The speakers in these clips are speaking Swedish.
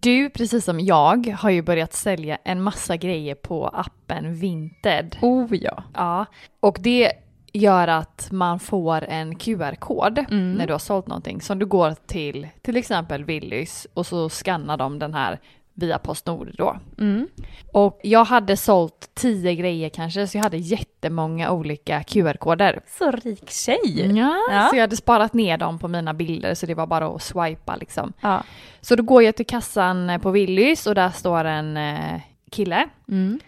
Du, precis som jag, har ju börjat sälja en massa grejer på appen Vinted. Oh ja. Ja, och det gör att man får en QR-kod Mm. när du har sålt någonting som du går till till exempel Willys och så skannar de den här via Postnord då. Mm. Och jag hade sålt tio grejer kanske så jag hade jättemånga olika QR-koder. Så rik tjej. Ja, Ja. så jag hade sparat ner dem på mina bilder så det var bara att swipa liksom. Ja. Så då går jag till kassan eh, på Willys och där står en eh, kille Mm.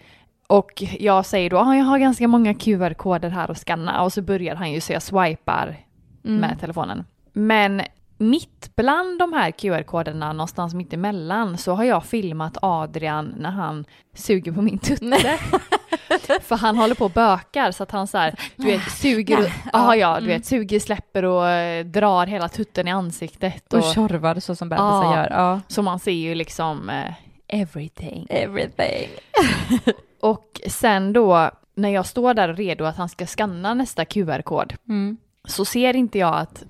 och jag säger då "Ah, jag har ganska många QR-koder här att scanna och så börjar han ju så jag swipar Mm. med telefonen. Men mitt bland de här QR-koderna någonstans mitt emellan så har jag filmat Adrian när han suger på min tutte. För han håller på och bökar så att han så här, du vet suger och, ja, ja, du vet suger, släpper och eh, drar hela tutten i ansiktet. Och, Och tjorvar så som bebisar Ja. gör. Ja. så man ser ju liksom eh, everything. Everything. Och sen då när jag står där redo att han ska skanna nästa QR-kod Mm. så ser inte jag att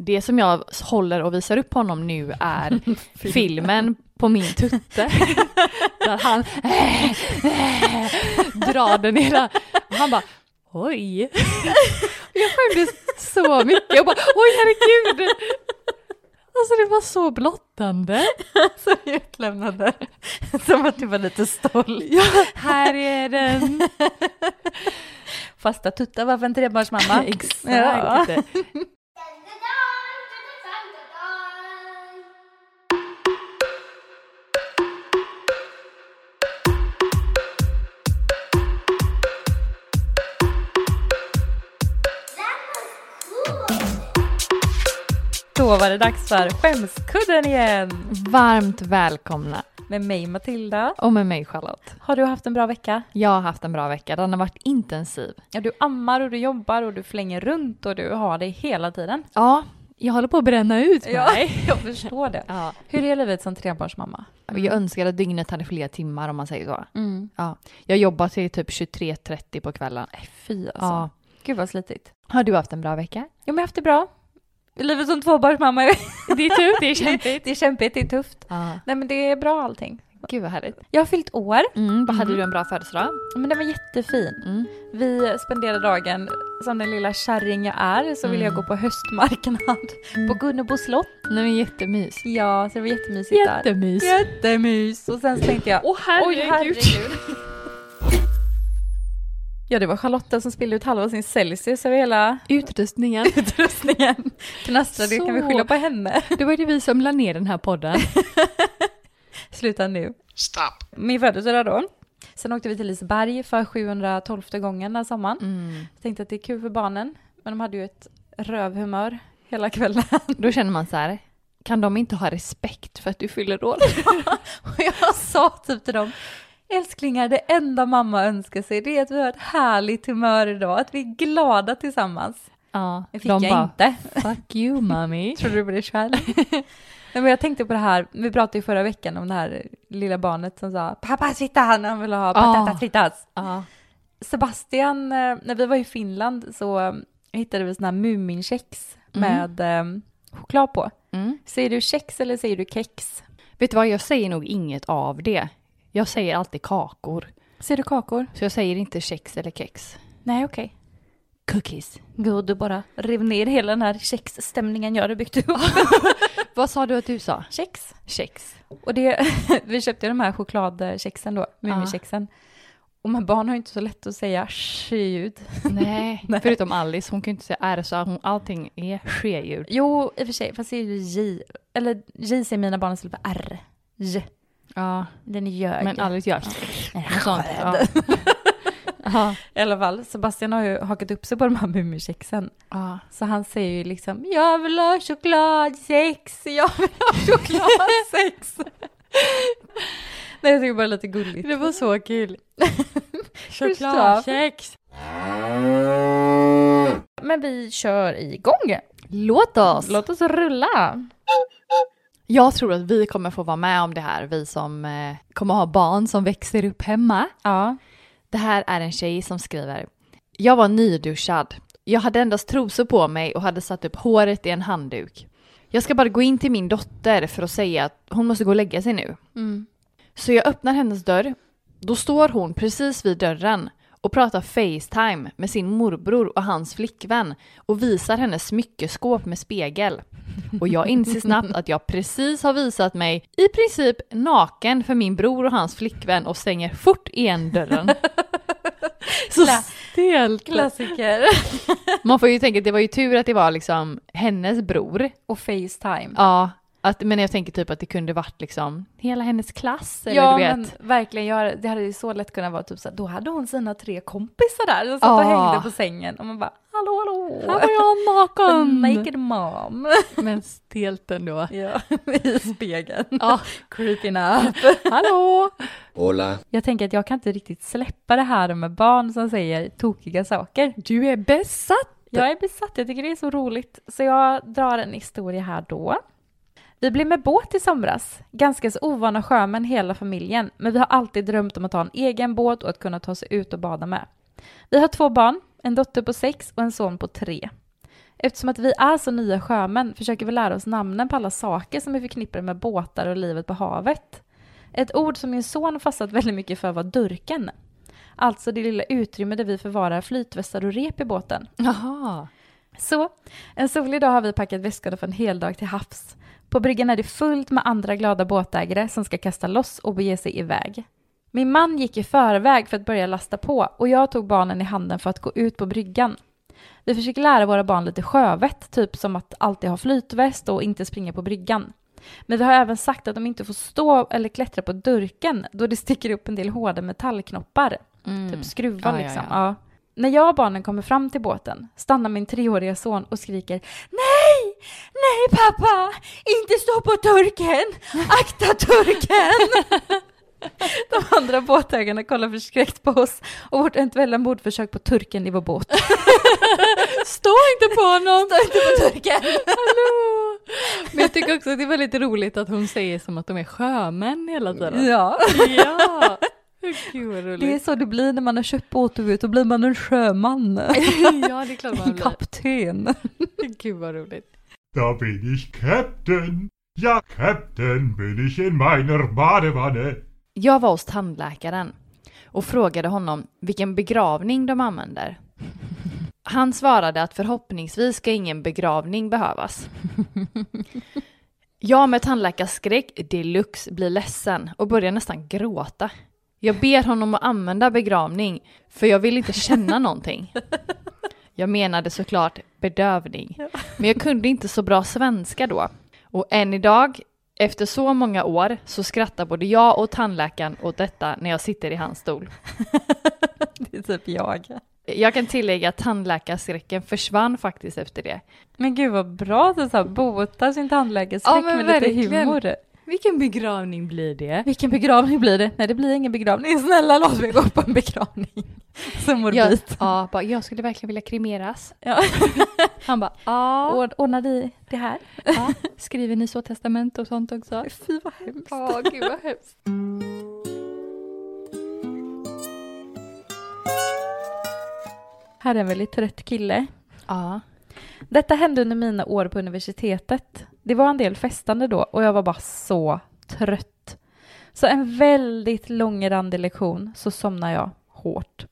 det som jag håller och visar upp honom nu är filmen på min tutte. där han drar den hela. Och han bara oj. jag skämdes så mycket. Jag bara oj herregud. Alltså det var så blottande. Så utlämnande. Som att du var lite stolt. Här är den. Fasta tuttar var för en trebarnsmamma. Exakt. Då var det dags för skämskudden igen. Varmt välkomna. Med mig Matilda. Och med mig Charlotte. Har du haft en bra vecka? Jag har haft en bra vecka. Den har varit intensiv. Ja, du ammar och du jobbar och du flänger runt och du har det hela tiden. Ja, jag håller på att bränna ut mig. jag förstår det. Ja. Hur är livet som trebarnsmamma? Jag önskar att dygnet hade fler timmar om man säger så. Mm. Ja. Jag jobbar till typ 23.30 på kvällen. Fy alltså. Ja. Gud vad slitigt. Har du haft en bra vecka? Jo, men jag har haft det bra. Livet som tvåbarnsmamma, Det är tur, det är det, det är kämpigt, det är tufft. Ja. Nej men det är bra allting. Gud vad härligt. Jag har fyllt år, Mm, vad hade du en bra födelsedag? men den var jättefin. Mm. Vi spenderade dagen, som den lilla kärring jag är, så ville jag gå på höstmarknad på Gunnebo slott. Nej men jättemys. Ja, så det var jättemysigt där. Jättemys. Jättemys! Och sen så tänkte jag, Åh oj herregud. Ja, det var Charlotta som spillde ut halva sin Celsius över hela Utrustningen. utrustningen. Knastrade, det kan vi Så. skylla på henne. Det var ju vi som la ner den här podden. Sluta nu. Stop. Min födelsedag då. Sen åkte vi till Liseberg för 712 gången den här sommaren. Mm. Jag tänkte att det är kul för barnen, men de hade ju ett rövhumör hela kvällen. Då känner man så här, kan de inte ha respekt för att du fyller år? Och jag sa typ till dem, älsklingar, det enda mamma önskar sig det är att vi har ett härligt humör idag, att vi är glada tillsammans. Ja, Det fick jag inte. Fuck you mommy. Tror du på det själv? Nej, men jag tänkte på det här, vi pratade ju förra veckan om det här lilla barnet som sa pappa fritta när han ville ha Ah. patatas fritas. Ja. Sebastian, eh, när vi var i Finland så eh, hittade vi såna här Muminkex med eh, choklad på. Mm. Säger du kex eller säger du kex? Vet du vad, jag säger nog inget av det. Jag säger alltid kakor. Säger du kakor? Så jag säger inte kex eller kex. Nej, okej. Cookies. Gud, du bara rev ner hela den här kexstämningen jag hade byggt upp. Vad sa du att du sa? Kex. Kex. Och det, vi köpte ju de här chokladkexen då, Muminkexen. Och men barn har ju inte så lätt att säga sh-ljud. Nej. Förutom Alice, hon kan ju inte säga R så hon, allting är ske-ljud. Jo, i och för sig, fast det är ju j. Eller j säger mina barn istället för r. J. Ja, Den är ljög. men Alice gör och sånt. Ja. Ja. I alla fall, Sebastian har ju hakat upp sig på de här Muminkexen. Ja. Så han säger ju liksom “Jag vill ha chokladsex, jag vill ha chokladsex”. Nej, jag tycker bara det är lite gulligt. Det var så kul. Chokladkex. Men vi kör igång. Låt oss. Låt oss rulla. Jag tror att vi kommer få vara med om det här, vi som eh, kommer ha barn som växer upp hemma. Ja. Det här är en tjej som skriver. Jag var nyduschad. Jag hade endast trosor på mig och hade satt upp håret i en handduk. Jag ska bara gå in till min dotter för att säga att hon måste gå och lägga sig nu. Mm. Så jag öppnar hennes dörr. Då står hon precis vid dörren och pratar Facetime med sin morbror och hans flickvän och visar hennes smyckeskåp med spegel. Och jag inser snabbt att jag precis har visat mig i princip naken för min bror och hans flickvän och stänger fort igen dörren. Så Kla- stelt! Klassiker. Man får ju tänka att det var ju tur att det var liksom hennes bror. Och Facetime. Ja, att, men jag tänker typ att det kunde varit liksom hela hennes klass eller du vet. men verkligen. Jag, det hade ju så lätt kunnat vara typ såhär, då hade hon sina tre kompisar där som satt och Ja. hängde på sängen och man bara, hallå hallå! Här var jag naken! Naked mom. Men stelt ändå. Ja, Ah. i spegeln. Ja, Creeping up. hallå! Hola. Jag tänker att jag kan inte riktigt släppa det här med barn som säger tokiga saker. Du är besatt! Jag är besatt, jag tycker det är så roligt. Så jag drar en historia här då. Vi blev med båt i somras. Ganska så ovana sjömän hela familjen, men vi har alltid drömt om att ha en egen båt och att kunna ta sig ut och bada med. Vi har två barn, en dotter på sex och en son på tre. Eftersom att vi är så nya sjömän försöker vi lära oss namnen på alla saker som vi förknippar med båtar och livet på havet. Ett ord som min son fastnat väldigt mycket för var durken. Alltså det lilla utrymme där vi förvarar flytvästar och rep i båten. Jaha. Så, en solig dag har vi packat väskorna för en hel dag till havs. På bryggan är det fullt med andra glada båtägare som ska kasta loss och bege sig iväg. Min man gick i förväg för att börja lasta på och jag tog barnen i handen för att gå ut på bryggan. Vi försöker lära våra barn lite sjövett, typ som att alltid ha flytväst och inte springa på bryggan. Men vi har även sagt att de inte får stå eller klättra på durken då det sticker upp en del hårda metallknoppar. Mm. Typ skruvar Ja, ja, liksom. ja. Ja. När jag och barnen kommer fram till båten stannar min treåriga son och skriker Nej! Nej pappa! Inte stå på turken! Akta turken! De andra båtägarna kollar förskräckt på oss och vårt eventuella mordförsök på turken i vår båt. Stå inte på honom! Stå inte på turken! Hallå! Men jag tycker också att det är väldigt roligt att hon säger som att de är sjömän hela tiden. Ja, Ja! Gud vad det är roligt. så det blir när man har köpt båt och ut, då blir man en sjöman. Ja, det är klart man En blir. kapten. Gud vad roligt. Da bin ich Captain. Ja, Captain bin ich in meiner Badewanne. Jag var hos tandläkaren och frågade honom vilken begravning de använder. Han svarade att förhoppningsvis ska ingen begravning behövas. Jag med tandläkarskräck deluxe blir ledsen och börjar nästan gråta. Jag ber honom att använda begravning för jag vill inte känna någonting. Jag menade såklart bedövning, men jag kunde inte så bra svenska då. Och än idag, efter så många år, så skrattar både jag och tandläkaren åt detta när jag sitter i hans stol. Det är typ jag. Jag kan tillägga att tandläkarskräcken försvann faktiskt efter det. Men gud vad bra att du så här botar sin tandläkarskräck Ja, men med lite verkligen. humor. Vilken begravning blir det? Vilken begravning blir det? Nej det blir ingen begravning. Snälla låt mig gå på en begravning. Så Jag, morbid. ja, bara, jag skulle verkligen vilja kremeras. Ja. Han bara, ja, Ord- Ordnar ni det här? ja. skriver ni så testament och sånt också? Fy vad hemskt. Ja, gud vad hemskt. Här är en väldigt trött kille. Ja. Detta hände under mina år på universitetet. Det var en del festande då och jag var bara så trött. Så en väldigt långrandig lektion så somnade jag hårt.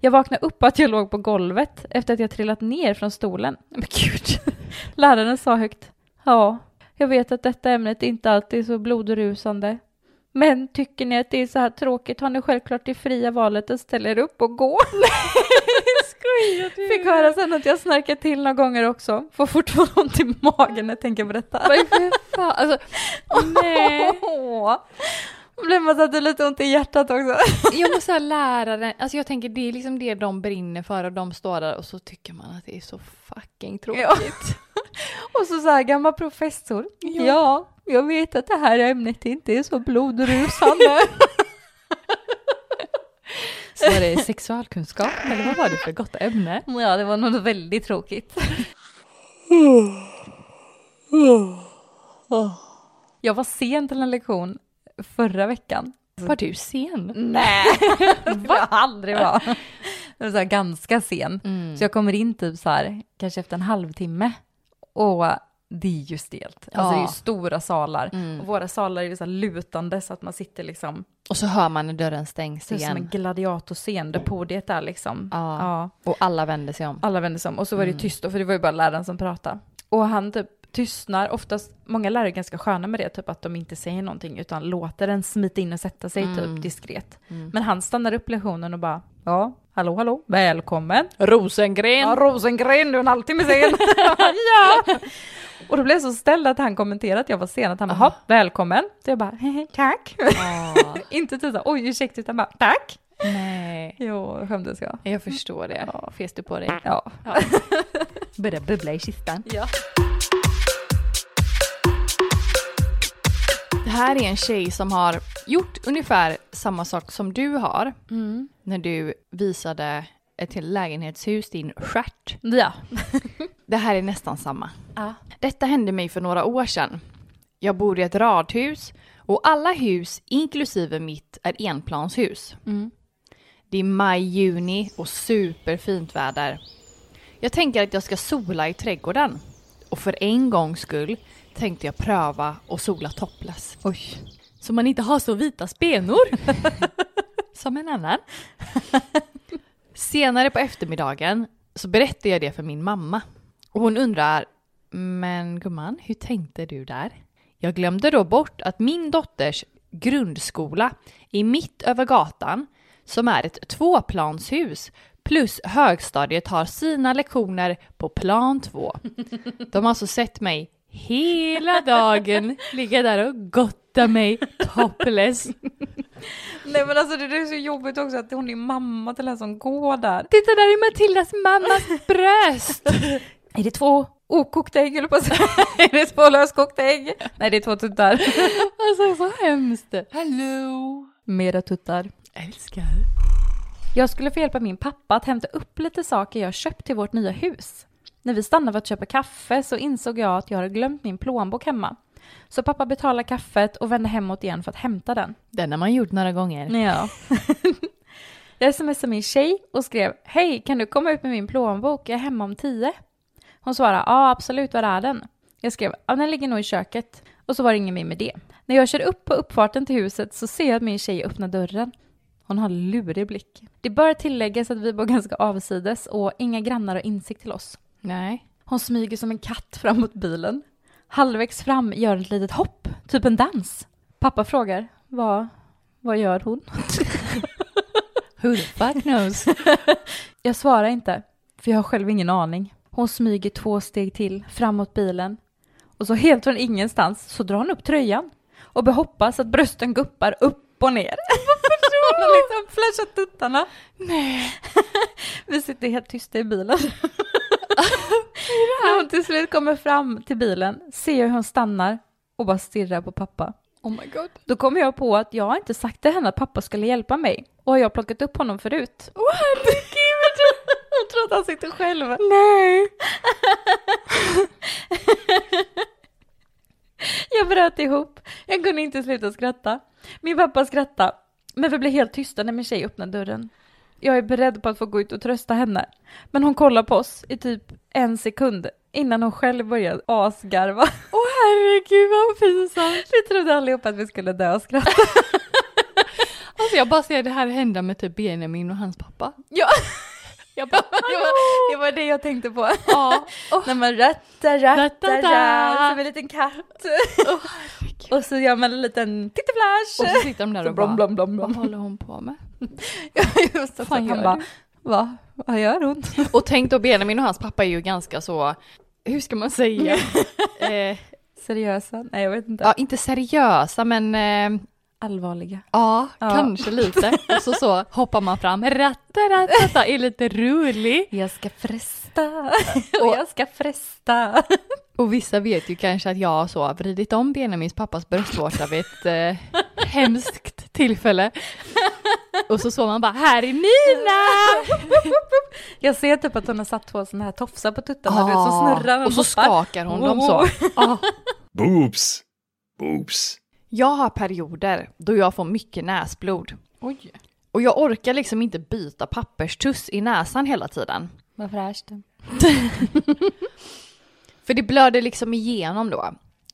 Jag vaknade upp att jag låg på golvet efter att jag trillat ner från stolen. Men gud! Läraren sa högt. Ja, jag vet att detta ämnet inte alltid är så blodrusande. Men tycker ni att det är så här tråkigt har ni självklart det fria valet att ställa er upp och gå. Skojar du? Fick höra sen att jag snarkat till några gånger också. Får fortfarande ont i magen när jag tänker på detta. Vad för fan? Alltså, nej. Åh. Då Blir man så att det är lite ont i hjärtat också. Jag måste säga läraren, alltså jag tänker det är liksom det de brinner för och de står där och så tycker man att det är så fucking tråkigt. Ja. Och så så här gammal professor. Ja. jag vet att det här ämnet inte är så blodrusande. Så var det sexualkunskap eller vad var det för gott ämne? ja, det var något väldigt tråkigt. Jag var sen till en lektion förra veckan. Var du sen? Nej, det får jag aldrig vara. Det var så här Mm. ganska sen. Så jag kommer in typ så här, kanske efter en halvtimme. Och det är ju stelt. Alltså det är ju Ja. stora salar. Mm. Och våra salar är ju så här lutande så att man sitter liksom Och så hör man när dörren stängs ser ut som en igen. gladiatorscen där podiet är liksom. Ja. Ja. Och alla vänder sig om. Alla vände sig om och så var det ju tyst då, för det var ju bara läraren som pratade. Och han typ tystnar, oftast, många lärare är ganska sköna med det, typ att de inte säger någonting utan låter den smita in och sätta sig typ diskret. Men han stannar upp lektionen och bara, ja, hallå hallå, välkommen. Rosengren! Ja, Rosengren, du är en halvtimme sen. ja. Och då blev jag så ställd att han kommenterade att jag var sen, att han bara, Aha. "Hopp, välkommen. Så jag bara, "Hehe, tack. inte typ såhär, oj ursäkta, utan bara, tack. nej. Jo, skämdes jag. Jag förstår det. Fes du på dig? Ja. Börjar bubbla i kistan. ja. Det här är en tjej som har gjort ungefär samma sak som du har. När du visade ett helt lägenhetshus din stjärt. Ja. Det här är nästan samma. Ja. Detta hände mig för några år sedan. Jag bor i ett radhus och alla hus, inklusive mitt, är enplanshus. Det är maj, juni och superfint väder. Jag tänker att jag ska sola i trädgården. Och för en gångs skull tänkte jag pröva och sola topless. Oj. Så man inte har så vita spenor. Som en annan. Senare på eftermiddagen så berättar jag det för min mamma. Och hon undrar, men gumman, hur tänkte du där? Jag glömde då bort att min dotters grundskola är mitt över gatan som är ett tvåplanshus plus högstadiet har sina lektioner på plan två. De har alltså sett mig hela dagen ligga där och gotta mig topless. Nej men alltså det där är så jobbigt också att hon är mamma till den som går där. Titta där är Matildas mammas bröst! Är det två okokta ägg höll jag på att säga. Är det två löskokta ägg? Nej det är två tuttar. Alltså så hemskt. Hello! Mera tuttar. Älskar. Jag skulle få hjälpa min pappa att hämta upp lite saker jag köpt till vårt nya hus. När vi stannade för att köpa kaffe så insåg jag att jag hade glömt min plånbok hemma. Så pappa betalade kaffet och vände hemåt igen för att hämta den. Den har man gjort några gånger. Ja. jag smsade min tjej och skrev Hej, kan du komma ut med min plånbok? Jag är hemma om tio. Hon svarade Ja, absolut, var är den? Jag skrev Ja, den ligger nog i köket. Och så var det ingen mer med det. När jag kör upp på uppfarten till huset så ser jag att min tjej öppnar dörren. Hon har en lurig blick. Det bör tilläggas att vi bor ganska avsides och inga grannar har insikt till oss. Nej. Hon smyger som en katt fram mot bilen. Halvvägs fram gör ett litet hopp, typ en dans. Pappa frågar, vad, vad gör hon? Who the fuck knows? Jag svarar inte, för jag har själv ingen aning. Hon smyger två steg till, framåt bilen. Och så helt från ingenstans så drar hon upp tröjan och behoppas att brösten guppar upp och ner. hon har liksom flashat tuttarna. Nej. Vi sitter helt tysta i bilen. När hon till slut kommer fram till bilen ser jag hur hon stannar och bara stirrar på pappa. Oh my god. Då kommer jag på att jag har inte sagt till henne att pappa skulle hjälpa mig och jag har plockat upp honom förut. Åh oh, herregud! Jag tror att han sitter själv. Nej! jag bröt ihop. Jag kunde inte sluta skratta. Min pappa skrattade, men vi blev helt tysta när min tjej öppnade dörren. Jag är beredd på att få gå ut och trösta henne, men hon kollar på oss i typ en sekund innan hon själv börjar asgarva. Åh oh, herregud vad pinsamt. Vi trodde allihopa att vi skulle dö av skratt. Alltså jag bara ser det här hända med typ Benjamin och hans pappa. Ja. Jag bara, det, var, det var det jag tänkte på. Ja. När man rattar, rattar, Rattar, rattar som en liten katt. och så gör man en liten Och titteflash. så sitter de där Så och bara, blom, blom, vad blom. håller hon på med? Just att fan han gör bara, du? va? Vad gör hon? Och tänk då Benjamin och hans pappa är ju ganska så, hur ska man säga? eh, Seriösa? Nej, jag vet inte. ja, inte seriösa men eh, Allvarliga. Ja, Ja. kanske lite. Och så, så hoppar man fram, ratta, ratta, ratta, är lite rolig. Jag ska fresta. Och jag ska fresta. Och vissa vet ju kanske att jag har så vridit om Benjamins pappas bröstvårta vid ett eh, hemskt tillfälle. Och så såg man bara, här är mina! Jag ser typ att hon har satt två sådana här tofsar på tuttarna. du vet, Så snurrar de Ah. och så hoppar. skakar hon dem så. Ja. Boobs. Boobs. Jag har perioder då jag får mycket näsblod. Oj. Och jag orkar liksom inte byta papperstuss i näsan hela tiden. Vad fräscht. För det blöder liksom igenom då.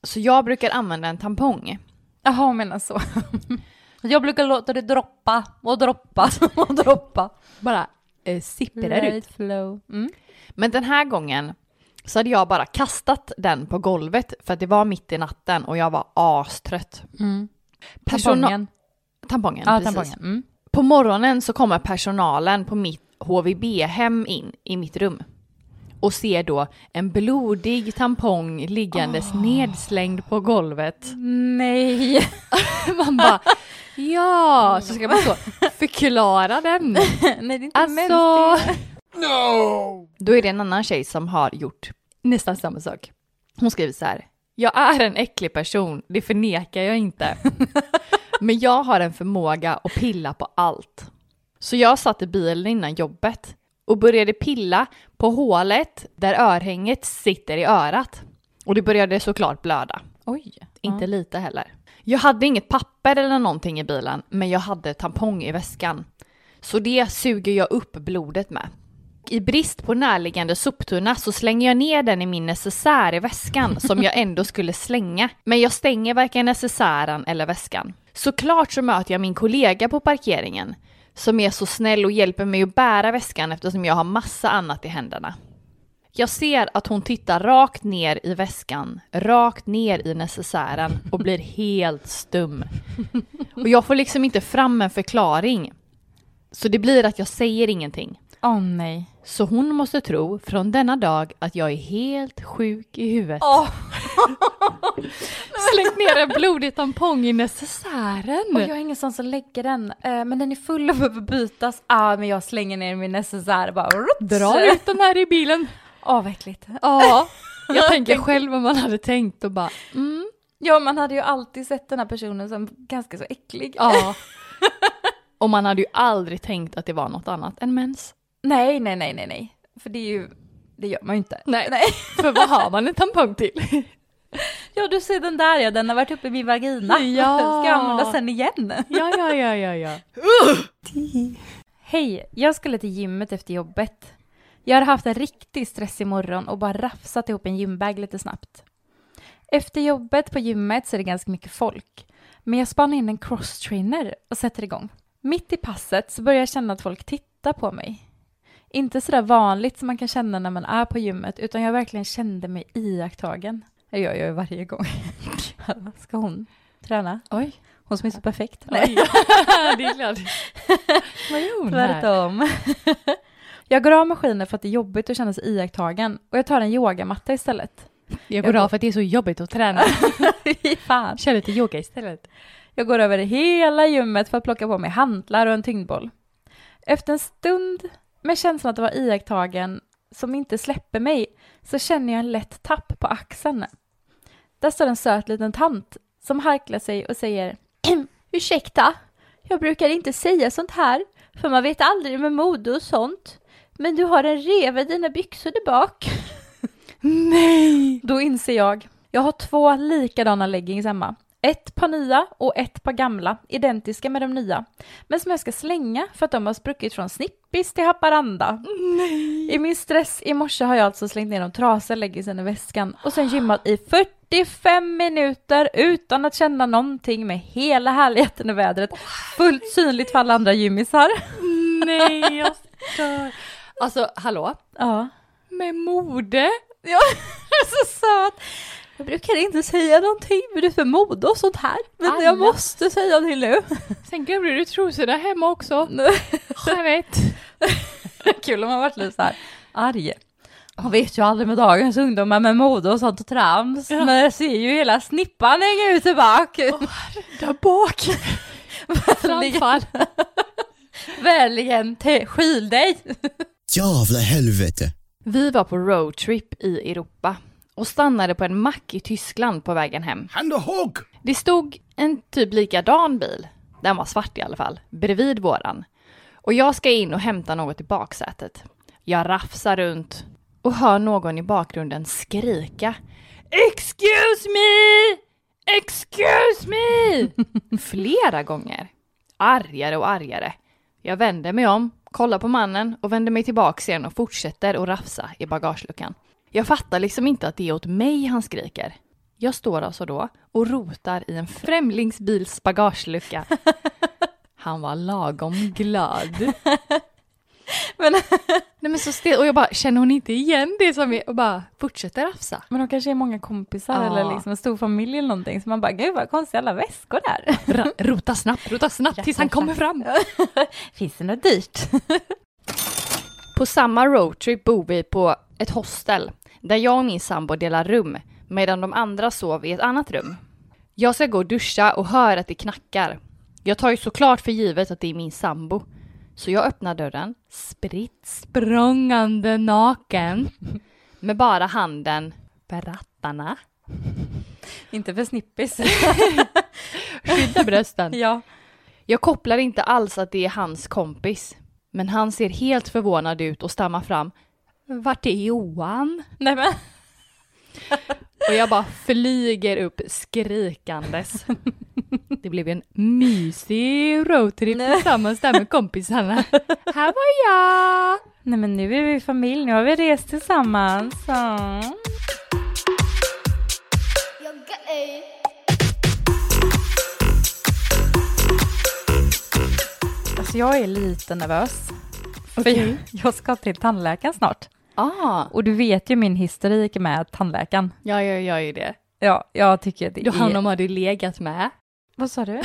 Så jag brukar använda en tampong. Jaha, alltså. hon menar så. Jag brukar låta det droppa och droppa och droppa. Bara eh, sipprar ut. Right flow. Mm. Men den här gången så hade jag bara kastat den på golvet för att det var mitt i natten och jag var astrött. Mm. Persona- Tampongen. Tampongen, Ja, precis. tampongen. Mm. På morgonen så kommer personalen på mitt HVB-hem in i mitt rum och ser då en blodig tampong liggandes Ah. nedslängd på golvet. Mm. Nej. Mm. Man bara ja, så ska man så förklara den. Nej, det är inte mens. Alltså. Då är det en annan tjej som har gjort nästan samma sak. Hon skriver så här. Jag är en äcklig person, det förnekar jag inte. Men jag har en förmåga att pilla på allt. Så jag satt i bilen innan jobbet och började pilla på hålet där örhänget sitter i örat. Och det började såklart blöda. Oj. Inte lite heller. Jag hade inget papper eller någonting i bilen, men jag hade tampong i väskan. Så det suger jag upp blodet med. I brist på närliggande soptunna så slänger jag ner den i min necessär i väskan som jag ändå skulle slänga. Men jag stänger varken necessären eller väskan. Såklart så möter jag min kollega på parkeringen som är så snäll och hjälper mig att bära väskan eftersom jag har massa annat i händerna. Jag ser att hon tittar rakt ner i väskan, rakt ner i necessären och blir helt stum. Och jag får liksom inte fram en förklaring. Så det blir att jag säger ingenting. Åh nej. Så hon måste tro från denna dag att jag är helt sjuk i huvudet. Åh. Slängt ner en blodig tampong i necessären. Och jag har ingen som som lägger den. Eh, men den är full och behöver bytas. Ah, men jag slänger ner min necessär bara. rutt. drar ut den här i bilen. Åh, vad äckligt. Ja, jag tänker själv vad man hade tänkt och bara mm, Ja, man hade ju alltid sett den här personen som ganska så äcklig. ja. Och man hade ju aldrig tänkt att det var något annat än mens. Nej, nej, nej, nej, nej. För det är ju, det gör man ju inte. Nej. För vad har man en tampong till? Ja, du ser den där ja, den har varit uppe i min vagina. Ja. Ska jag använda sen igen? Ja, ja, ja, ja, ja. Hej, jag skulle till gymmet efter jobbet. Jag har haft en riktigt stressig morgon och bara rafsat ihop en gymbag lite snabbt. Efter jobbet på gymmet så är det ganska mycket folk. Men jag spanar in en crosstrainer och sätter igång. Mitt i passet så börjar jag känna att folk tittar på mig. Inte sådär vanligt som man kan känna när man är på gymmet utan jag verkligen kände mig iakttagen. Jag gör ju varje gång. Ska hon träna? Oj. Hon som är så perfekt. Oj. det är klart. Vad gör hon här? Tvärtom. jag går av maskinen för att det är jobbigt att känna sig iakttagen och jag tar en yogamatta istället. Jag går av för att det är så jobbigt att träna. Fy fan. Kör lite yoga istället. Jag går över hela gymmet för att plocka på mig hantlar och en tyngdboll. Efter en stund med känslan att vara iakttagen som inte släpper mig så känner jag en lätt tapp på axeln. Där står en söt liten tant som harklar sig och säger Ursäkta, jag brukar inte säga sånt här för man vet aldrig med mode och sånt. Men du har en rev i dina byxor där bak. Nej! Då inser jag. Jag har två likadana leggings hemma. Ett par nya och ett par gamla, identiska med de nya. Men som jag ska slänga för att de har spruckit från Snippis till Haparanda. I min stress i morse har jag alltså slängt ner de trasiga leggingsen i väskan och sen gymmat i 45 minuter utan att känna någonting med hela härligheten och vädret. Fullt synligt för alla andra gymmisar. Nej, jag stör. Alltså, hallå? Ja. Med mode? Ja, det är så söt. Jag brukar inte säga någonting, men det är för mode och sånt här. Men Alla. jag måste säga till nu. Sen glömde du trosorna hemma också. Jag vet. Kul om man varit lite så här arg. Man vet ju aldrig med dagens ungdomar med mode och sånt och trams. Ja. Men jag ser ju hela snippan hänga ut i bak. Där bak. Framfall. Vänligen te- skyl dig. Jävla helvete! Vi var på roadtrip i Europa och stannade på en mack i Tyskland på vägen hem. Hand och hugg! Det stod en typ likadan bil, den var svart i alla fall, bredvid våran. Och jag ska in och hämta något i baksätet. Jag rafsar runt och hör någon i bakgrunden skrika Excuse me! Excuse me! Flera gånger. Argare och argare. Jag vänder mig om, kollar på mannen och vänder mig tillbaks igen och fortsätter att rafsa i bagageluckan. Jag fattar liksom inte att det är åt mig han skriker. Jag står alltså då och rotar i en främlingsbils bagagelucka. Han var lagom glad. Men, Nej men så stel. Och jag bara, känner hon inte igen det som är? Och bara, fortsätter rafsa. men de kanske är många kompisar Ja. eller liksom en stor familj eller någonting. Så man bara, gud vad konstiga alla väskor där. Ra- rota snabbt, rota snabbt tills han kommer fram. Finns det något dyrt? På samma roadtrip bor vi på ett hostel där jag och min sambo delar rum medan de andra sov i ett annat rum. Jag ska gå och duscha och hör att det knackar. Jag tar ju såklart för givet att det är min sambo. Så jag öppnar dörren, spritt språngande naken, med bara handen på rattarna. Inte för snippis. Skydda brösten. ja. Jag kopplar inte alls att det är hans kompis. Men han ser helt förvånad ut och stammar fram. Vart är Johan? Nej men. Och jag bara flyger upp skrikandes. Det blev en mysig roadtrip tillsammans där med kompisarna. Här var jag! Nej men nu är vi familj, nu har vi rest tillsammans. Ja. Alltså jag är lite nervös. För jag, jag ska till tandläkaren snart. Ah, Och du vet ju min historik med tandläkaren. ja, jag gör ju det. Ja, jag tycker att det Du, är... honom har du legat med. Vad sa du?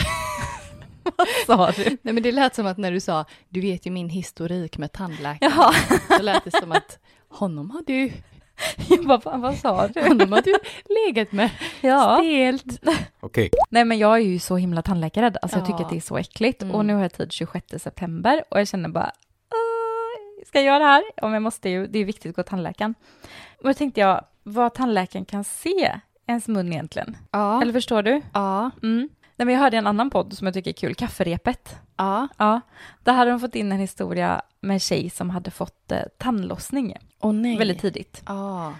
Vad sa du? Nej men det lät som att när du sa, du vet ju min historik med tandläkaren. Jaha, Så lät det som att, honom har du, jag bara, fan, vad sa du? honom har du legat med. Ja. Stelt. Okej. Nej men jag är ju så himla tandläkarrädd, alltså jag Ja. tycker att det är så äckligt. Mm. Och nu har jag tid 26 september och jag känner bara, "Åh, ska jag göra det här? Ja men jag måste ju, det är viktigt att gå till tandläkaren. Och då tänkte jag, vad tandläkaren kan se ens mun egentligen? Ja. Eller förstår du? Ja. Mm. Nej men jag hörde en annan podd som jag tycker är kul, Kafferepet. Ja. Ja, där hade de fått in en historia med en tjej som hade fått eh, tandlossning Åh nej. väldigt tidigt. Ja.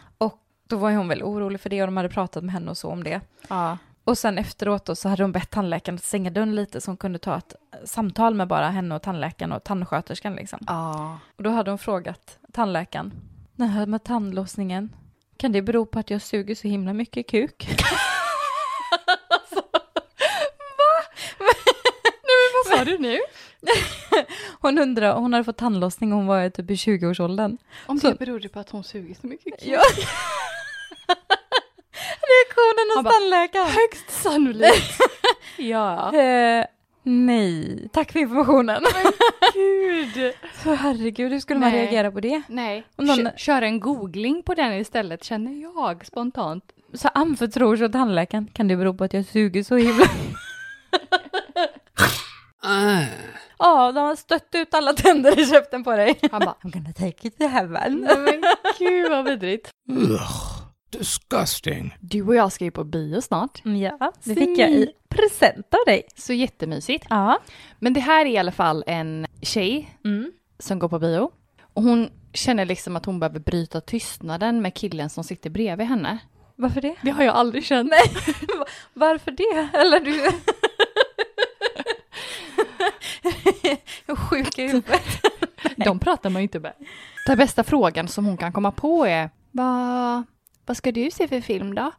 Då var ju hon väl orolig för det och de hade pratat med henne och så om det. Ja. Och sen efteråt då så hade hon bett tandläkaren att stänga dörren lite så hon kunde ta ett eh, samtal med bara henne och tandläkaren och tandsköterskan liksom. Ja. Och då hade hon frågat tandläkaren, när här med tandlossningen, kan det bero på att jag suger så himla mycket kuk? Vad sa du nu? Hon undrar, hon hade fått tandlossning och hon var ju typ i 20-årsåldern. Om Så- det berodde på att hon suger så mycket kuk. Ja. Reaktionen Han hos bara, tandläkaren. Högst sannolikt. ja. Eh, nej, tack för informationen. Gud. För herregud, hur skulle man Nej. reagera på det? Nej. Och någon- Kö- Kör en googling på den istället känner jag spontant. Så anförtror sig åt tandläkaren, kan det bero på att jag suger så himla... Ja, de har stött ut alla tänder i käften på dig. Mm. Han bara, I'm gonna take it to heaven. nej men gud vad vidrigt. Ugh, disgusting. Du och jag ska ju på bio snart. Mm, Ja, det Se fick jag i mig. present av dig. Så jättemysigt. Ja. Men det här är i alla fall en tjej Mm. som går på bio. Och hon känner liksom att hon behöver bryta tystnaden med killen som sitter bredvid henne. Varför det? Det har jag aldrig känt. Varför det? Eller du... Jag är Sjuk i huvudet. De pratar man ju inte med. Den bästa frågan som hon kan komma på är Va, Vad ska du se för film då?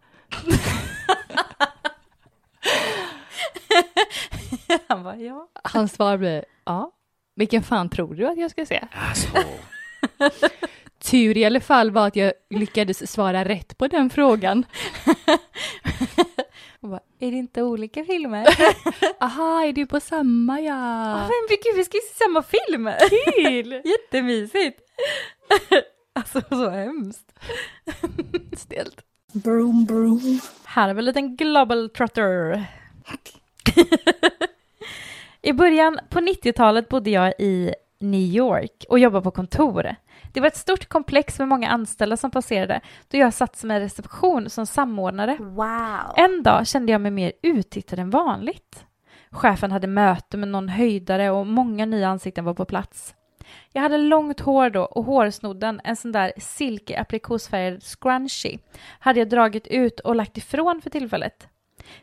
Han bara, ja. Hans svar blir Ja. Vilken fan tror du att jag ska se? Asshole. Tur i alla fall var att jag lyckades svara rätt på den frågan. Hon bara, är det inte olika filmer? Aha, är du på samma ja? Ah, men gud, vi ska ju se samma film! Kul! Jättemysigt! alltså så hemskt. Stelt. Här har vi en liten global trotter. I början på 90-talet bodde jag i New York och jobbade på kontor. Det var ett stort komplex med många anställda som passerade då jag satt som en reception som samordnare. En dag kände jag mig mer uttittad än vanligt. Chefen hade möte med någon höjdare och många nya ansikten var på plats. Jag hade långt hår då och hårsnodden, en sån där silke aprikosfärgad scrunchie, hade jag dragit ut och lagt ifrån för tillfället.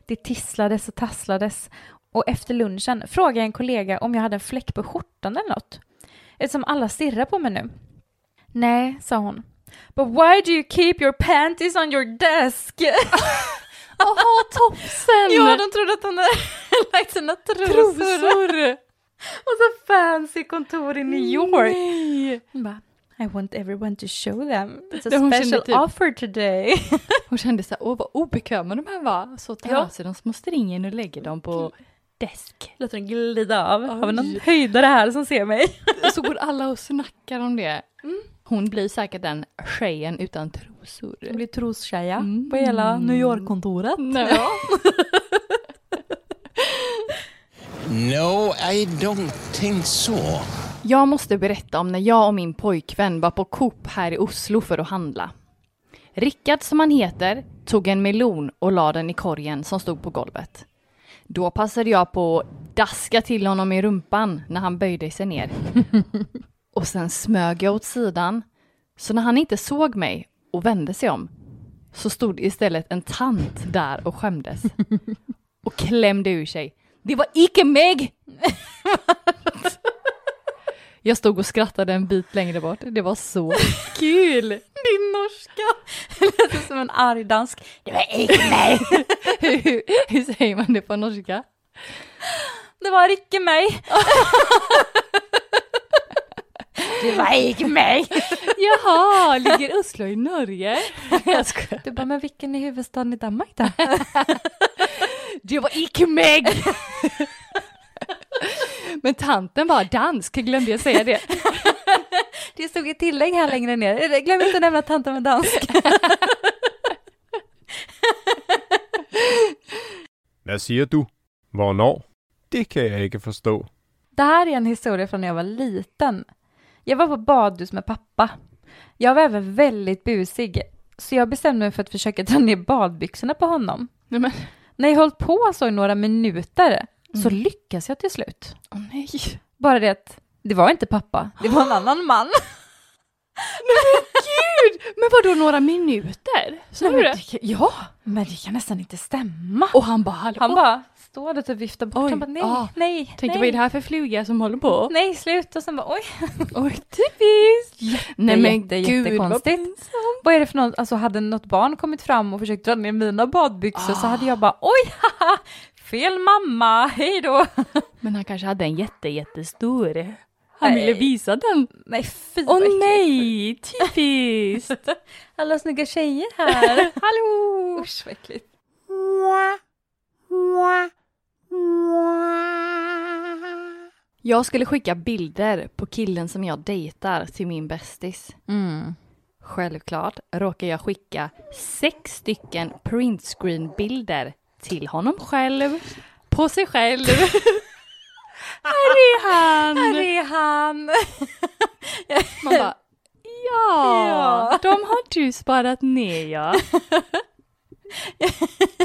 Det tisslades och tasslades och efter lunchen frågade jag en kollega om jag hade en fläck på skjortan eller något. Eftersom alla stirrar på mig nu. Nej, sa hon. But why do you keep your panties on your desk? Åh, topsen! ja, de trodde att hon hade lagt sina trosor och så fancy kontor i New York. Nej. Hon bara, I want everyone to show them. It's Det a hon kände special typ. offer today. Hon kände så här, åh vad obekväma de här var. Så tar Ja. jag av sig de små stringen och lägger dem på desk. Låter den glida av. Har vi någon Oj. höjdare här som ser mig? Och så går alla och snackar om det. Mm. Hon blir säkert den tjejen utan trosor. Jag blir trostjeja Mm. på hela New York-kontoret. Nej. No, I don't think so. Jag måste berätta om när jag och min pojkvän var på Coop här i Oslo för att handla. Rickard, som han heter, tog en melon och la den i korgen som stod på golvet. Då passade jag på att daska till honom i rumpan när han böjde sig ner. Och sen smög jag åt sidan. Så när han inte såg mig och vände sig om så stod istället en tant där och skämdes. Och klämde ur sig. Det var icke mig! Jag stod och skrattade en bit längre bort. Det var så Kul! Din norska låter som en arg dansk. Det var icke mig! hur, hur säger man det på norska? Det var icke mig! det var icke mig! Jaha, ligger Oslo i Norge? Jag skojar. Du bara, men vilken är huvudstaden i Danmark då? Det var icke mig! Men tanten var dansk, glömde jag säga det. Det stod ett tillägg här längre ner. Eh, Glöm inte att nämna att tanten var dansk. Hvad siger du? Hvornår? Det kan jeg ikke forstå. Det här är en historia från när jag var liten. Jag var på badhus med pappa. Jag var även väldigt busig, så jag bestämde mig för att försöka dra ner badbyxorna på honom. Nej men, När jag höll på så i några minuter så lyckas jag till slut. åh nej. Bara det att det var inte pappa, det var en annan man. Gud, men vadå några minuter? Så men du det? det kan- ja, men det kan nästan inte stämma. Och han bara, hallå? Han bara står där och typ viftar bort. Oj, han bara nej, ah. nej, Tänkte, vad är nej, det här för fluga som håller på? nej, slut. Och sen bara oj, Oj, typiskt! Nej men jätte, gud, vad jättekonstigt. pinsamt. vad är det för något? Alltså hade något barn kommit fram och försökt dra ner mina badbyxor så hade jag bara oj, haha, fel mamma, hej då. Men han kanske hade en jätte, jättestor. Han ville Nej. visa den. Nej, fy Åh vad äckligt. nej, typiskt! Alla snygga tjejer här. Hallå! Usch vad äckligt. Jag skulle skicka bilder på killen som jag dejtar till min bästis. Mm. Självklart råkar jag skicka sex stycken printscreen-bilder till honom själv. På sig själv. här är han! Här är han. Man bara, ja, Ja. de har du sparat ner ja.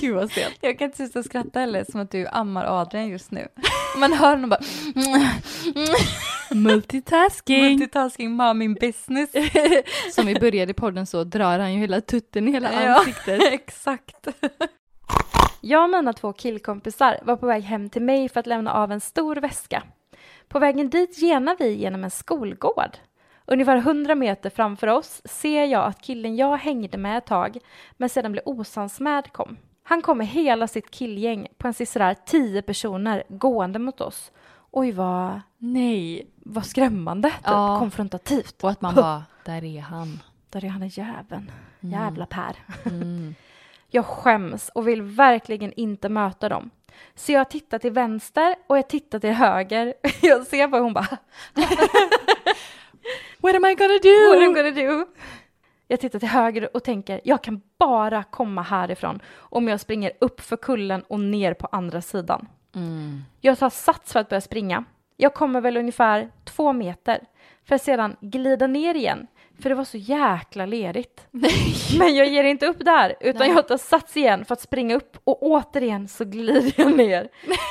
Gud vad stelt. Jag kan inte sluta skratta heller som att du ammar Adrian just nu. Man hör honom bara Multitasking. multitasking mommy business. Som vi började i podden så drar han ju hela tutten i hela Ja. ansiktet. Exakt. Jag och mina två killkompisar var på väg hem till mig för att lämna av en stor väska. På vägen dit genar vi genom en skolgård. Ungefär 100 meter framför oss ser jag att killen jag hängde med ett tag men sedan blev osams med kom. Han kom med hela sitt killgäng på en sisådär 10 personer gående mot oss. Oj, vad, Nej. vad skrämmande. Typ. Ja. Konfrontativt. Och att man bara, där är han. Där är han jäveln. Jävla Per. Jag skäms och vill verkligen inte möta dem. Så jag tittar till vänster och jag tittar till höger. Jag ser bara hon bara What am I gonna What am I do? gonna do? Jag tittar till höger och tänker jag kan bara komma härifrån om jag springer upp för kullen och ner på andra sidan. Jag tar sats för att börja springa. Jag kommer väl ungefär två meter för att sedan glida ner igen för det var så jäkla lerigt. Men jag ger inte upp där utan Nej. jag tar sats igen för att springa upp och återigen så glider jag ner.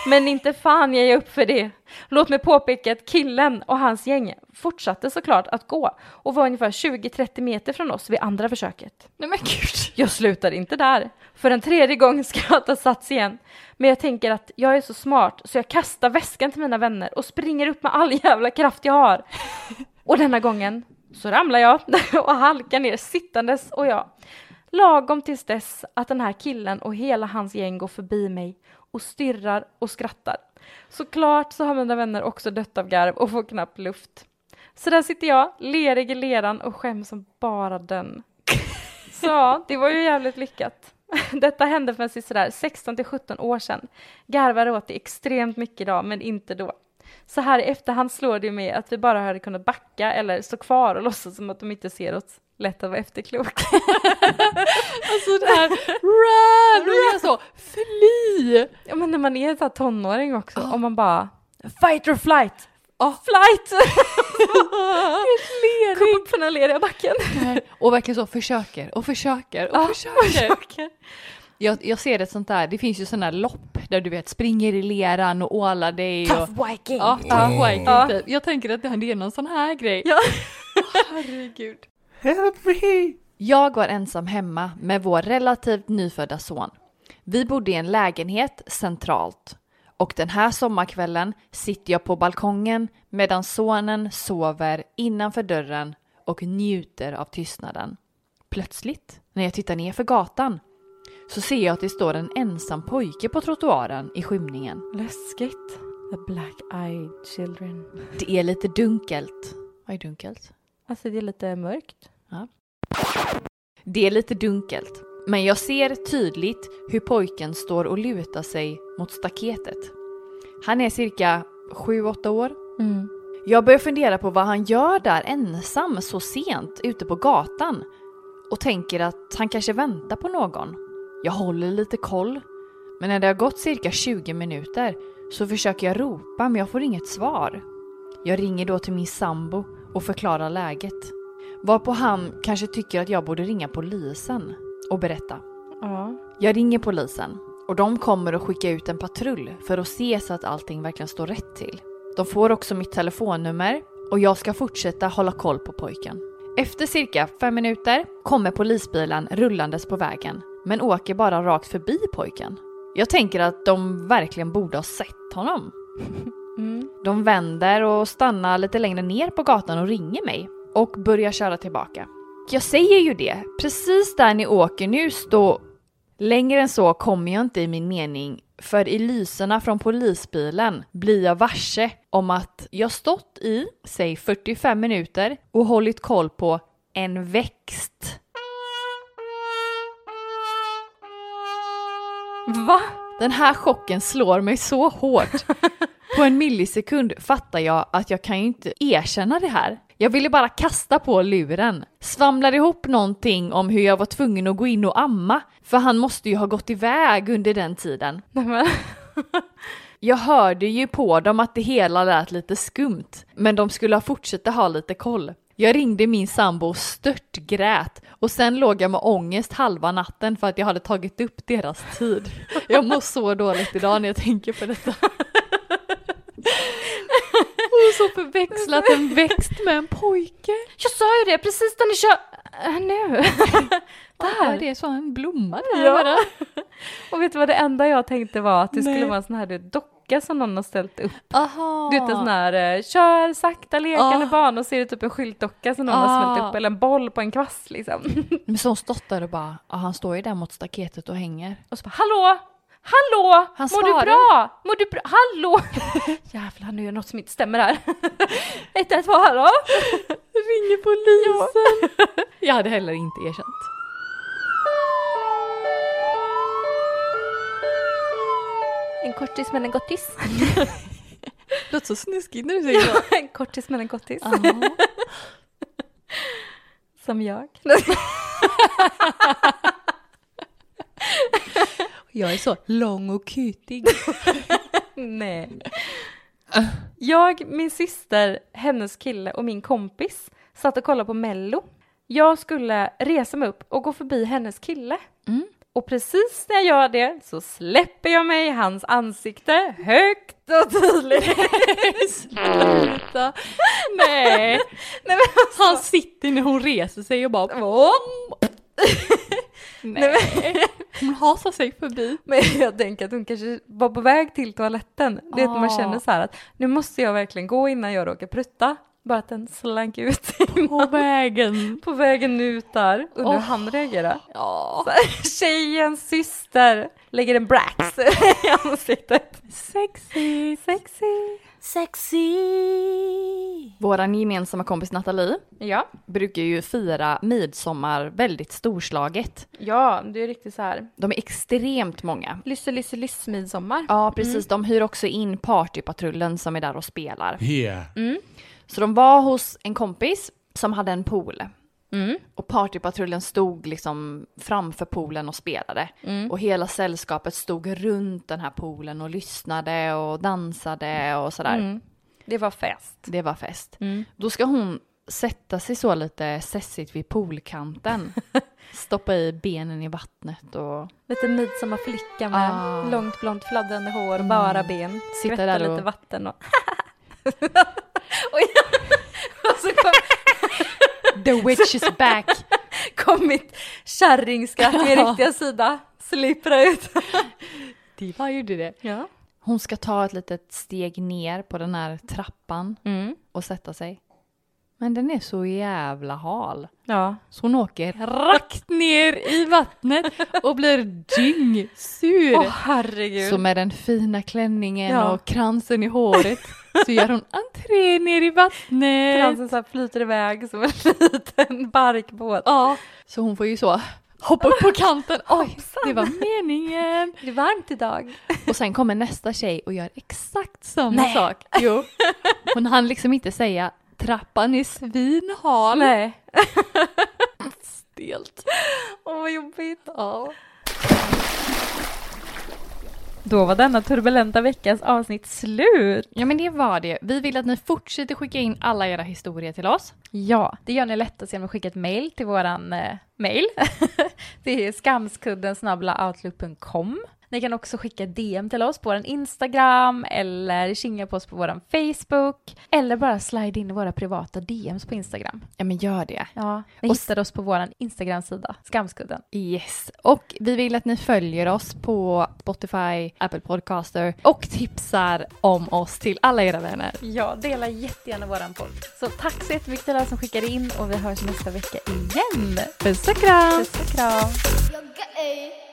Men inte fan ger jag upp för det. Låt mig påpeka att killen och hans gäng fortsatte såklart att gå och var ungefär 20-30 meter från oss vid andra försöket. Nej men gud. Jag slutar inte där. För en tredje gång ska jag ta sats igen. Men jag tänker att jag är så smart så jag kastar väskan till mina vänner och springer upp med all jävla kraft jag har. Och denna gången Så ramlar jag och halkar ner sittandes och jag. Lagom tills dess att den här killen och hela hans gäng går förbi mig och stirrar och skrattar. Såklart så har mina vänner också dött av garv och får knappt luft. Så där sitter jag, lerig i leran och skäms som bara den. Så ja, det var ju jävligt lyckat. Detta hände för sådär 16 till 17 år sedan. Garvar åt det extremt mycket idag, men inte då. Så här i efterhand slår det mig att vi bara hade kunnat backa eller stå kvar och låtsas som att de inte ser oss. Lätt att vara efterklok. Alltså det här run! Och jag så fly! Ja, men när man är så här tonåring också, om man bara fight or flight! Flight! Kom upp på den här leriga backen. Och verkligen så försöker och försöker och Ja, försöker. försöker. Jag, jag ser ett sånt där, det finns ju sådana lopp där du vet springer i leran och ålar dig. Och, viking! ja, tough viking. Ja. typ. Jag tänker att det det är någon sån här grej. Ja. Herregud. Help me! Jag var ensam hemma med vår relativt nyfödda son. Vi bodde i en lägenhet centralt. Och den här sommarkvällen sitter jag på balkongen medan sonen sover innanför dörren och njuter av tystnaden. Plötsligt, när jag tittar ner för gatan, så ser jag att det står en ensam pojke på trottoaren i skymningen. Läskigt. The black eyed children. Det är lite dunkelt. Vad är dunkelt? Alltså det är lite mörkt. Det är lite dunkelt, men jag ser tydligt hur pojken står och lutar sig mot staketet. Han är cirka 7-8 år. Jag börjar fundera på vad han gör där ensam så sent ute på gatan och tänker att han kanske väntar på någon. Jag håller lite koll, men när det har gått cirka 20 minuter så försöker jag ropa men jag får inget svar. Jag ringer då till min sambo och förklarar läget. Varpå han kanske tycker att jag borde ringa polisen och berätta. Ja. Jag ringer polisen och de kommer att skicka ut en patrull för att se så att allting verkligen står rätt till. De får också mitt telefonnummer och jag ska fortsätta hålla koll på pojken. Efter cirka fem minuter kommer polisbilen rullandes på vägen men åker bara rakt förbi pojken. Jag tänker att de verkligen borde ha sett honom. Mm. De vänder och stannar lite längre ner på gatan och ringer mig och börjar köra tillbaka. Jag säger ju det, precis där ni åker nu står... Längre än så kommer jag inte i min mening, för i lyserna från polisbilen blir jag varse om att jag stått i, säg 45 minuter och hållit koll på en växt. Va? Den här chocken slår mig så hårt. På en millisekund fattar jag att jag kan ju inte erkänna det här. Jag ville bara kasta på luren. Svamlar ihop någonting om hur jag var tvungen att gå in och amma, för han måste ju ha gått iväg under den tiden. Nej, men. Jag hörde ju på dem att det hela lät lite skumt, men de skulle ha fortsätta ha lite koll. Jag ringde min sambo och störtgrät och sen låg jag med ångest halva natten för att jag hade tagit upp deras tid. Jag mår så dåligt idag när jag tänker på detta. Och så förväxlat en växt med en pojke. Jag sa ju det precis när ni kör... Äh, nu. Där. Det är så en blomma där. Ja. bara. Och vet du vad det enda jag tänkte var? Att det Nej. skulle vara en sån här du, vet, docka som någon har ställt upp. Aha. Du vet en sån här eh, kör sakta lekande Ah. barn och ser det typ en skyltdocka som någon Ah. har smält upp eller en boll på en kvast liksom. Men så hon stått där och bara, ja, han står ju där mot staketet och hänger. Och så bara hallå! Hallå! Han Mår svarar. du bra? Mår du bra? Hallå! Jävlar nu är det något som inte stämmer här. 112 hallå? Ringer polisen. Jag hade heller inte erkänt. En kortis men en gottis. Låter så snuskigt när du säger så. en kortis men en gottis. Som jag. Jag är så lång och kutig. Nej. Jag, min syster, hennes kille och min kompis satt och kollade på Mello. Jag skulle resa mig upp och gå förbi hennes kille. Mm. Och precis när jag gör det så släpper jag mig i hans ansikte högt och tydligt. Sluta. Nej. Nej, men alltså, Han sitter när hon reser sig och bara Om. nej. Hon hasar sig förbi. Men jag tänker att hon kanske var på väg till toaletten. Du vet när man Ah. känner så här att nu måste jag verkligen gå innan jag råkar prutta. Bara att den slank ut På vägen. på vägen ut där. Undrar hur Åh. han reagerar. Ja. Tjejens syster lägger en brax i ansiktet. Sexy. Sexy. Sexy! Våran gemensamma kompis Nathalie Ja, brukar ju fira midsommar väldigt storslaget. ja, det är riktigt så här. De är extremt många. Lysse, lysse, lyss midsommar. Ja, precis. De hyr också in Partypatrullen som är där och spelar. Yeah. Så de var hos en kompis som hade en pool. Mm. Och partypatrullen stod liksom framför poolen och spelade. Och hela sällskapet stod runt den här poolen och lyssnade och dansade och sådär. Mm. Det var fest. Det var fest. Mm. Då ska hon sätta sig så lite sessigt vid poolkanten. Stoppa i benen i vattnet och Lite midsommarflicka med Ah. långt blont fladdrande hår, bara ben. Sitta Skvätta där och- lite vatten och... Oj. och så kom, the witch is back. kom mitt kärringskratt, min riktiga sida, slippra ut. Diva gjorde det. ja. Hon ska ta ett litet steg ner på den här trappan Mm. och sätta sig. Men den är så jävla hal. ja. Så hon åker rakt ner i vattnet och blir dyngsur. Åh herregud. så med den fina klänningen Ja. och kransen i håret så gör hon entré ner i vattnet. Kransen så här flyter iväg som en liten barkbåt. Ja, så hon får ju så hoppa upp på kanten. Oj, det var meningen. Det är varmt idag. Och sen kommer nästa tjej och gör exakt samma Nej. sak. Jo, hon hann liksom inte säga trappan är svinhal. Nej. Stelt. Åh vad jobbigt. Ja. Då var denna turbulenta veckas avsnitt slut. ja, men det var det. Vi vill att ni fortsätter skicka in alla era historier till oss. Ja, det gör ni lättast genom att skicka ett mejl till våran eh, mejl. det är skamskudden outlook.com. Ni kan också skicka DM till oss på vår Instagram eller kinga på oss på vår Facebook. Eller bara slide in i våra privata DMs på Instagram. Ja, men gör det. Ja, ni Och s- hittar oss på vår Instagram-sida, Skamskudden. Yes, och vi vill att ni följer oss på Spotify, Apple Podcaster och tipsar om oss till alla era vänner. Ja, dela jättegärna våran podd. Så tack så jättemycket till alla som skickade in och vi hörs nästa vecka igen. Puss och kram! Puss och kram! You're gay.